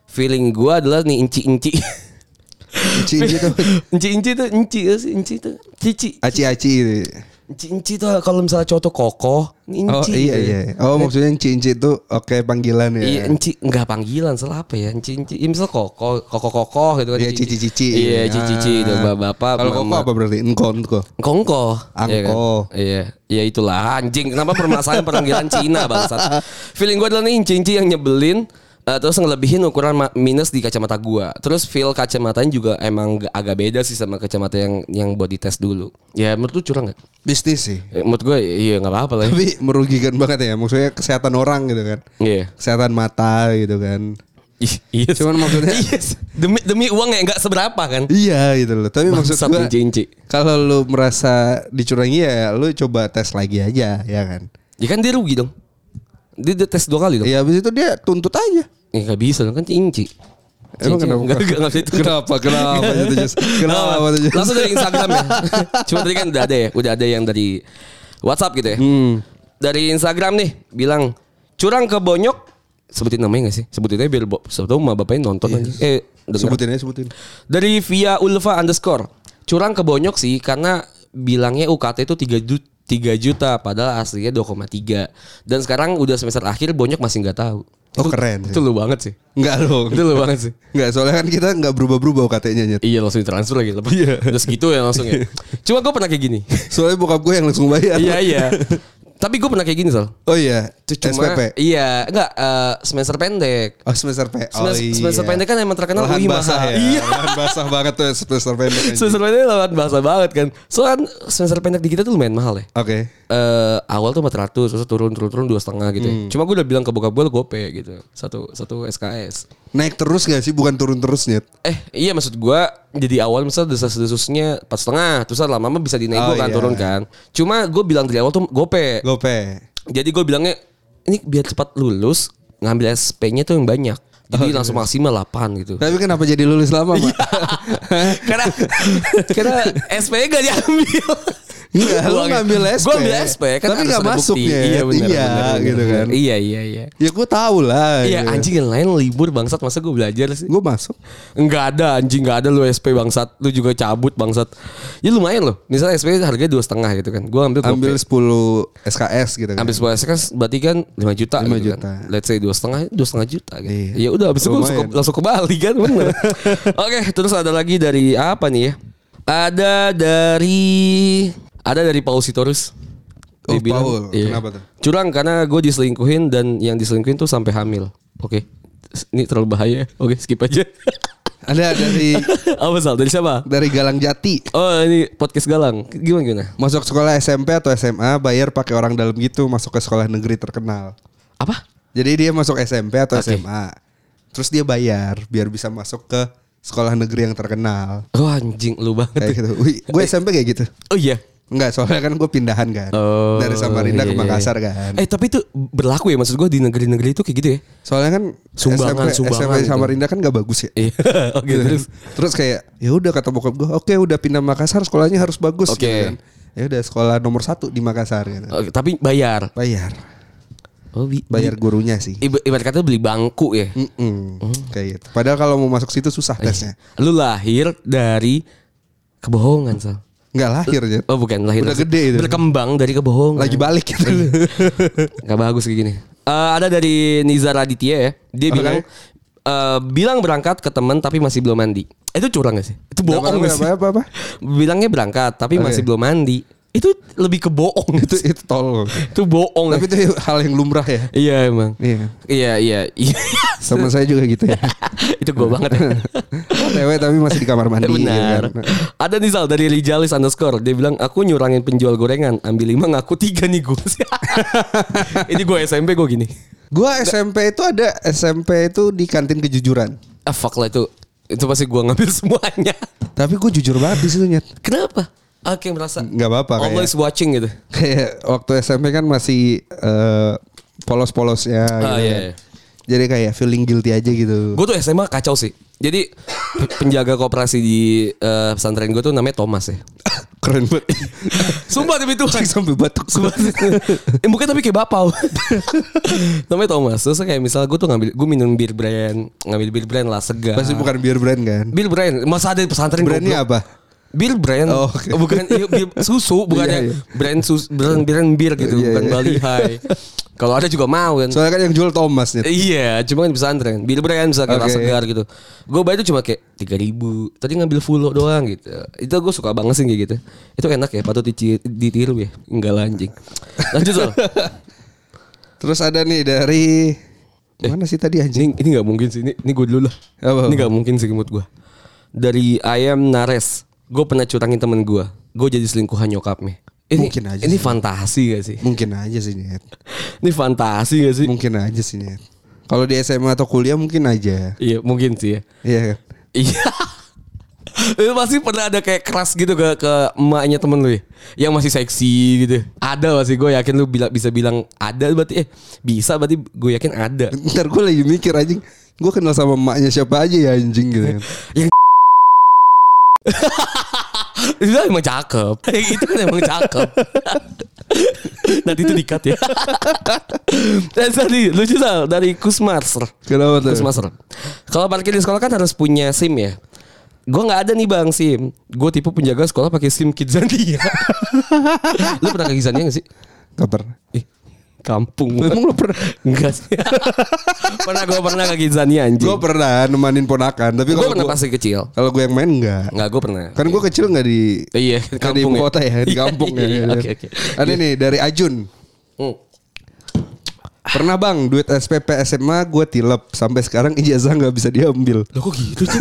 Feeling gue adalah nih inci-inci.
Aci gitu.
inci-inci tuh, inci ya sih, inci tuh, cici.
Aci-aci gitu.
Inci-inci tuh kalau misalnya cowok tuh kokoh, ini
Oh
inci.
iya
gitu.
iya. Oh maksudnya inci-inci itu oke panggilan ya.
Iya, enci enggak panggilan salah apa ya? Enci enci. Ya, misal kokoh, kokoh-kokoh gitu kan.
Iya cici-cici.
Iya, cici-cici itu
Ah.
bapak-bapak.
Kalau koko apa berarti? Engkau, engkau.
Kongko. Iya, kan?
Angko.
iya. Ya itulah anjing. Kenapa permasalahan panggilan Cina bangsat? Feeling gue adalah nih inci-inci yang nyebelin eh, terus ngelebihin ukuran ma- minus di kacamata gua. Terus feel kacamatanya juga emang nggak- agak beda sih sama kacamata yang yang buat dites dulu. Ya menurut lu curang gak?
Bisnis sih.
Eh, menurut gue iya nggak apa-apa lah. ya.
Tapi merugikan banget ya. Maksudnya kesehatan orang gitu kan.
Iya.
Kesehatan mata gitu kan.
Ih, Iya.
Cuman maksudnya-
Iya. demi demi uang yang nggak seberapa kan.
Iya gitu loh. Tapi maksud
Bangsat
gua
inci-inci.
kalau lu merasa dicurangi ya lu coba tes lagi aja ya kan.
Ya kan dia rugi dong. Dia, dia tes dua kali dong.
Ya habis itu dia tuntut aja.
Ya nggak bisa dong kan inci.
Emang kenapa?
Gak, gak, gak bisa itu.
Kenapa? Kenapa? itu, Jess? Kenapa?
Nah,
itu, Jess?
Langsung dari Instagram ya. Cuma tadi kan udah ada ya, udah ada yang dari WhatsApp gitu ya.
Hmm.
Dari Instagram nih bilang curang ke bonyok sebutin namanya gak sih? Sebutin aja biar bo- siapa tahu mah bapaknya
Iya.
nonton aja. Eh, denger.
Sebutin aja sebutin.
Dari via Ulfa underscore. Curang ke Bonyok sih karena bilangnya UKT itu 3 juta, 3 juta padahal aslinya 2,3. Dan sekarang udah semester akhir Bonyok masih nggak tahu.
Oh,
Itu-
keren sih.
Itu lu banget sih.
Enggak dong.
Itu lu banget sih.
Enggak, soalnya kan kita enggak berubah-berubah katanya nyet.
Iya langsung ditransfer lagi lepas. Terus gitu ya langsung ya. Cuma gue pernah kayak gini.
Soalnya bokap gue yang langsung bayar.
iya iya. Tapi gue pernah kayak gini soal.
Oh iya, SPP.
Iya enggak eh, semester pendek.
Oh semester P. Oh,
Semester- semester pendek kan emang terkenal
Lahan
UI
basah
mahal.
ya.
Iya.
Lahan basah banget tuh semester pendek. anjing.
Semester pendek lawan bahasa banget kan. Soalnya semester pendek di kita tuh lumayan mahal ya.
Oke.
eh awal tuh 400 terus turun turun turun dua setengah gitu. ya.
Hmm.
Cuma gue udah bilang ke bokap gue lo gope gitu. Satu satu SKS.
Naik terus gak sih? Bukan turun terus nyet.
Eh iya maksud gue jadi awal misalnya desas-desusnya empat setengah terus lama-lama bisa dinaik
Oh,
gua kan
iya.
turun kan. Cuma gue bilang dari awal tuh gope.
Gope.
Jadi gue bilangnya ini biar cepat lulus ngambil SP-nya tuh yang banyak.
Oh, iya.
Jadi langsung maksimal 8 gitu.
Tapi kenapa jadi lulus lama, Pak?
Iya. karena karena SP-nya gak diambil.
Enggak, Iya, lu ngambil SP.
Gue ambil SP kan
Tapi
harus
nggak
ada
masuk,
bukti.
Nyet.
Iya benar.
Iya,
benar,
gitu
benar.
kan.
Iya iya iya.
ya gue tau lah.
Iya anjing yang lain libur bangsat masa gue belajar sih.
Gue masuk.
Enggak ada anjing enggak ada lu SP bangsat, lu juga cabut bangsat. Ya lumayan loh. Misalnya SP harganya dua setengah gitu kan. Gua ambil
Ambil
gope.
10 SKS gitu kan.
ambil sebuah SP kan berarti kan 5 juta
5
gitu
juta.
Kan. Let's say dua setengah, dua setengah juta gitu.
Iya.
Ya udah habis itu gua langsung,
Lumayan.
ke, langsung ke Bali kan bener. Oke, terus ada lagi dari apa nih ya? Ada dari ada dari Paul Sitorus.
Oh,
Dia bilang,
Paul.
iya.
Kenapa tuh?
Curang karena gue diselingkuhin dan yang diselingkuhin tuh sampai hamil. Oke. Ini terlalu bahaya. Oke, skip aja.
Ada dari
apa Sal? Dari siapa?
dari Galang Jati.
Oh ini podcast Galang. Gimana gimana?
Masuk sekolah SMP atau SMA bayar pakai orang dalam gitu masuk ke sekolah negeri terkenal.
Apa?
Jadi dia masuk SMP atau
Oke.
SMA. Terus dia bayar biar bisa masuk ke sekolah negeri yang terkenal.
Oh anjing lu banget.
Kayak gitu. Gue SMP kayak gitu.
Oh iya.
Enggak, soalnya kan gue pindahan kan.
Oh,
Dari Samarinda ke
iya, iya,
Makassar
iya.
kan.
Eh tapi itu berlaku ya maksud gua di negeri-negeri itu kayak gitu ya.
Soalnya kan
Sumbangan,
SMP,
sumbangan
SMP
gitu.
Samarinda kan gak bagus ya.
Iya. Oke
Gitu.
terus.
terus kayak ya udah kata bokap gue, oke udah pindah Makassar sekolahnya harus bagus.
Oke.
gitu kan. ya udah sekolah nomor satu di Makassar gitu.
Oke, Oh, tapi bayar.
Bayar,
Oh, bi-
bayar gurunya sih.
Iba- ibarat kata beli bangku ya.
Mm-mm. Iya. Kayak gitu. Padahal kalau mau masuk situ susah tesnya.
Lu lahir dari kebohongan, Sal.
Nggak lahir ya.
Oh, bukan lahir.
Udah
dari-
gede itu.
Berkembang dari kebohongan.
Lagi balik gitu.
Gak bagus kayak gini. Eh, ada dari Nizar Raditya ya. Dia bilang eh, bilang berangkat ke teman tapi masih belum mandi. Eh, Itu curang gak sih? Itu bohong gak sih?
apa, apa, apa,
Bilangnya berangkat tapi masih belum mandi. Itu lebih ke bohong.
Itu itu tolol.
itu bohong.
Tapi itu hal yang lumrah ya.
Iya emang.
Iya.
Iya iya. iya.
Sama saya juga gitu ya.
itu gue banget. Ya.
Tewe tapi masih di kamar mandi.
Benar.
gitu kan.
Ada nih Sal dari Rijalis underscore. Dia bilang aku nyurangin penjual gorengan. Ambil lima ngaku tiga nih gue. Ini gue SMP gue gini.
Gua SMP itu ada SMP itu di kantin kejujuran.
Ah fuck lah itu. Itu pasti gue ngambil semuanya.
Tapi gue jujur banget di situ nyet.
Kenapa? Ah, kayak merasa.
Nggak apa-apa kayak.
Allah is watching gitu.
Kayak waktu SMP kan masih eh, polos-polosnya gitu.
Ah, iya,
kan.
iya.
Jadi kayak feeling guilty aja gitu.
Gue tuh SMA kacau sih. Jadi pe- penjaga koperasi di eh, pesantren gue tuh namanya Thomas ya.
Keren banget.
Sumpah demi Tuhan.
Sampai batuk.
eh, mungkin tapi kayak bapau. Namanya Thomas. Terus kayak misal gue tuh ngambil, gue minum bir brand, ngambil bir brand lah segar.
Pasti bukan beer brand kan?
Bir brand, masa ada di pesantren
Brandnya
Ah. goblok?
apa?
Bir brand,
Oh, oke.
bukan iya, bir- susu, bukannya
Iya, iya.
brand susu, brand brand bir gitu,
Iya,
bukan
iya.
Bali High. Kalau ada juga mau kan.
Soalnya kan yang jual Thomas nyet.
Iya, cuma kan di pesantren. Bir brand bisa kayak
Oke.
segar gitu. Gue bayar itu cuma kayak tiga ribu. Tadi ngambil full doang gitu. Itu gue suka banget sih kayak gitu. Itu enak ya, patut dici- ditiru ya. Enggak lah anjing. Lanjut soal.
Terus ada nih dari
Eh.
mana sih tadi anjing?
ini ini nggak mungkin sih. Ini, ini gue dulu lah.
Apa?
Ini nggak mungkin sih menurut gue. Dari ayam Nares, gue pernah curangin temen gue. Gue jadi selingkuhan nyokapnya. Ini,
Mungkin aja
Ini fantasi gak sih?
Mungkin aja sih nyet.
Ini fantasi gak sih?
Mungkin aja sih nyet. Kalau di SMA atau kuliah mungkin aja.
Iya mungkin sih ya.
Iya kan?
Iya. Itu pasti pernah ada kayak keras gitu ke ke emaknya temen lu ya? Yang masih seksi gitu Ada pasti gue yakin lu bila, bisa bilang ada berarti Eh bisa berarti gue yakin ada
Ntar gue lagi mikir anjing Gue kenal sama emaknya siapa aja ya anjing gitu kan
Yang Itu kan emang cakep Yang itu kan emang cakep Nanti itu dikat ya Dan tadi lucu Sal Dari Kusmaster
Kenapa tuh?
Terus master. Kalau parkir di sekolah kan harus punya SIM ya. Gue nggak ada nih bang SIM. Gue tipe penjaga sekolah pakai SIM ya. Kidzania. lu pernah ke Kidzania gak sih?
Gak pernah
Ih, kampung.
Emang lu pernah?
Enggak sih. pernah gue pernah ke Kidzania anjing.
Gue pernah nemanin ponakan Tapi
Gue
kalau
pernah
gua-
pasti kecil.
kalau gue yang main enggak
Enggak gue pernah.
Kan gue kecil gak di
Iya,
nggak di
kampung ya.
kota ya Di kampung ya
Iya, iya,
gitu kan.
oke, oke.
Ada nih dari Ajun
Hmm.
Pernah bang duit SPP SMA gue tilep Sampai sekarang ijazah gak bisa diambil
Loh kok gitu sih?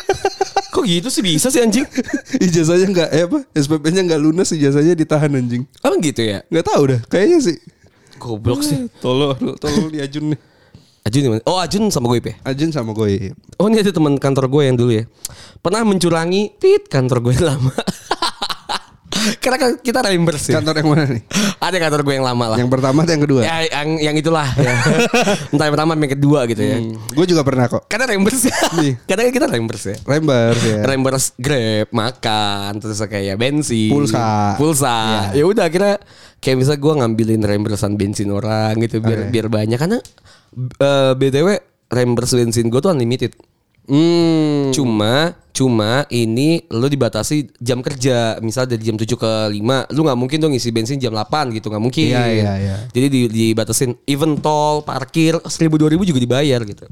kok gitu sih bisa sih anjing?
Ijazahnya gak eh apa SPP nya gak lunas ijazahnya ditahan anjing
Emang gitu ya?
Gak tahu dah kayaknya sih
Goblok sih.
Tolol Tolol di Ajun nih
Ajun di mana? Oh Ajun sama gue ya?
Ajun sama iya. gue
Oh ini ada teman kantor gue yang dulu ya Pernah mencurangi tit kantor gue yang lama Karena kan kita reimburse sih
Kantor yang mana nih?
Ada kantor gue yang lama lah
Yang pertama atau yang kedua?
Ya, yang, yang itulah ya. Entah yang pertama yang kedua gitu ya
Gue juga pernah kok.
Karena reimburse Karena kan kita reimburse ya
Rembar ya.
Reimburse grab, makan, terus kayak ya bensin
Pulsa. Iya.
Pulsa Ya udah akhirnya Kayak misalnya gue ngambilin reimbursean bensin orang gitu Biar, biar banyak Karena eh, BTW reimburse bensin gue tuh unlimited
Hmm.
Cuma cuma ini lu dibatasi jam kerja. Misal dari jam 7 ke 5, lu nggak mungkin dong ngisi bensin jam 8 gitu, nggak mungkin.
Iya, iya, iya.
Jadi di- dibatasin even tol, parkir 1000 2000 juga dibayar gitu.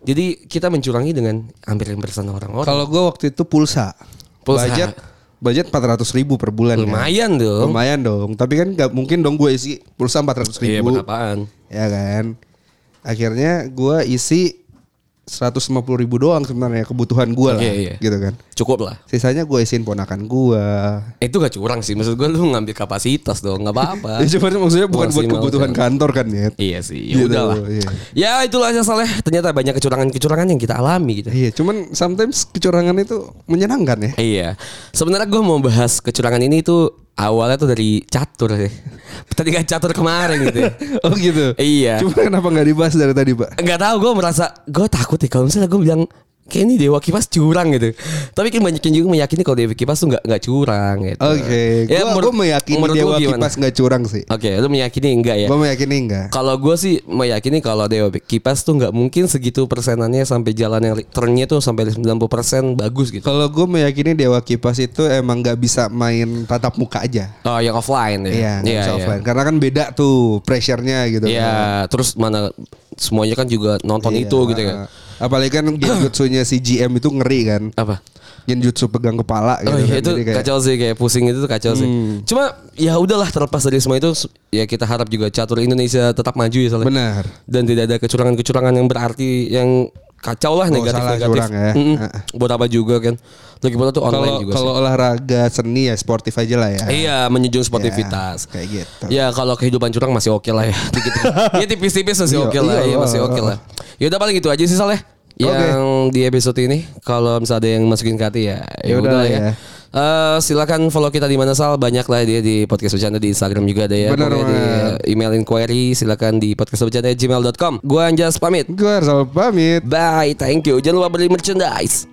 Jadi kita mencurangi dengan hampir persen orang-orang.
Kalau gue waktu itu pulsa.
Pulsa.
Budget budget 400 ribu per bulan kan.
Lumayan dong.
Lumayan dong. Tapi kan nggak mungkin dong gue isi pulsa 400
Iya,
ribu.
buat apaan?
ya kan. Akhirnya gue isi 150 ribu doang sebenarnya kebutuhan gue lah.
Iya, iya.
Gitu kan.
Cukup lah. Eh,
Sisanya gue isiin ponakan gue.
Itu gak curang sih. Maksud gue lu ngambil kapasitas dong, nggak apa-apa.
Ya cuman maksudnya bukan buat
Ah. Maksimal
kebutuhan kantor kan ya.
Iya sih,
Gitu,
ya udahlah.
iya.
Ya itulah aja Saleh. Ternyata banyak kecurangan-kecurangan yang kita alami gitu.
Iya, cuman sometimes kecurangan itu menyenangkan ya.
Iya. Sebenarnya gue mau bahas kecurangan ini tuh awalnya tuh dari catur sih. Pertandingan catur kemarin gitu. ya.
Oh gitu.
Iya.
Cuma kenapa nggak dibahas dari tadi, Pak?
Nggak tahu gue merasa gue takut ya kalau misalnya gue bilang kayak ini dewa kipas curang gitu. Tapi kan banyak yang juga meyakini kalau dewa kipas tuh nggak nggak curang gitu.
Oke,
Ya,
gua,
menurut-
gua meyakini
menurut lu
Dewa
gimana?
Kipas nggak curang sih.
Oke, lu meyakini enggak ya?
Gua meyakini enggak.
Kalau gue sih meyakini kalau Dewa Kipas tuh nggak mungkin segitu persenannya sampai jalan yang li- turnnya tuh sampai 90% bagus gitu.
Kalau gue meyakini Dewa Kipas itu emang nggak bisa main tatap muka aja.
Oh, yang offline ya.
Iya, nggak
Iya,
bisa
iya.
offline. Karena kan beda tuh pressure-nya gitu.
Iya, terus mana semuanya kan juga nonton
Iya.
itu gitu kan.
Apalagi kan genjutsunya si GM itu ngeri kan.
Apa?
Genjutsu pegang kepala gitu
Oh,
kan.
iya, itu
Jadi kayak- Hmm.
kacau sih kayak pusing itu tuh kacau sih. Cuma ya udahlah terlepas dari semua itu ya kita harap juga catur Indonesia tetap maju ya soalnya.
Benar.
Dan tidak ada kecurangan-kecurangan yang berarti yang kacau lah
Oh, salah
negatif-negatif.
curang ya.
Mm-mm.
Heeh.
Buat apa juga kan? Lagi pula tuh online
Kalau
juga sih.
kalau olahraga seni ya sportif aja lah ya.
Iya, menjunjung sportivitas.
kayak gitu.
Ya kalau kehidupan curang masih oke lah ya. Dikit-dikit. ya tipis-tipis masih
Iya,
oke lah,
iya,
ya masih
iya.
oke lah. Ya udah paling itu aja sih Saleh.
Oke.
Yang di episode ini kalau misalnya ada yang masukin ke hati ya ya
Yaudah
udah lah
lah
ya.
ya.
Eh, silakan follow kita di mana Sal banyak lah dia di podcast bercanda di Instagram juga ada ya
Benar
Boleh di
banget.
eh, email inquiry silakan di podcast bercanda gmail.com gua Anjas pamit
Gue harus pamit.
bye thank you jangan lupa beli merchandise